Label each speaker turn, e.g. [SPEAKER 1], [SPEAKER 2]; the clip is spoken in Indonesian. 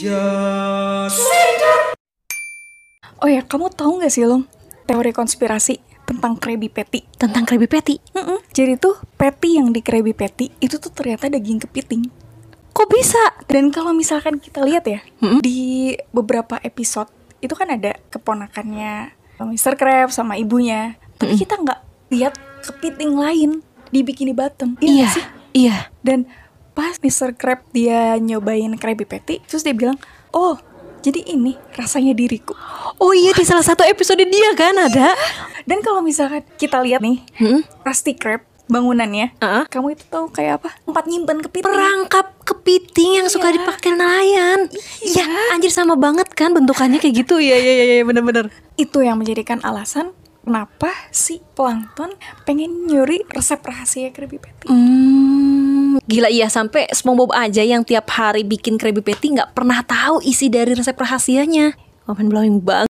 [SPEAKER 1] Share it.
[SPEAKER 2] Oh ya, kamu tahu nggak sih, Long? Teori konspirasi tentang Krabby Patty.
[SPEAKER 1] Tentang Krabby Patty.
[SPEAKER 2] Mm-mm. Jadi tuh, patty yang di Krabby Patty itu tuh ternyata daging kepiting.
[SPEAKER 1] Kok bisa?
[SPEAKER 2] Dan kalau misalkan kita lihat ya,
[SPEAKER 1] Mm-mm.
[SPEAKER 2] di beberapa episode itu kan ada keponakannya Mr. Krabs sama ibunya. Tapi kita nggak lihat kepiting lain dibikin di Batam. Iya nggak sih?
[SPEAKER 1] Iya.
[SPEAKER 2] Dan pas Mr. Krab dia nyobain Krabby Patty, terus dia bilang, oh jadi ini rasanya diriku.
[SPEAKER 1] Oh iya di salah satu episode dia kan ada.
[SPEAKER 2] Dan kalau misalkan kita lihat nih,
[SPEAKER 1] Mm-mm.
[SPEAKER 2] Rusty Crab bangunannya,
[SPEAKER 1] Uh-uh.
[SPEAKER 2] kamu itu tahu kayak apa? Tempat nyimpen kepiting.
[SPEAKER 1] Perangkap kepiting yang suka
[SPEAKER 2] Iya.
[SPEAKER 1] dipakai nelayan. Iya. anjir sama banget kan bentukannya kayak gitu. Iya iya iya iya, bener-bener.
[SPEAKER 2] Itu yang menjadikan alasan kenapa si plankton pengen nyuri resep rahasia Krabby Patty.
[SPEAKER 1] Hmm, gila iya sampai SpongeBob aja yang tiap hari bikin Krabby Patty nggak pernah tahu isi dari resep rahasianya. Wamen blowing banget.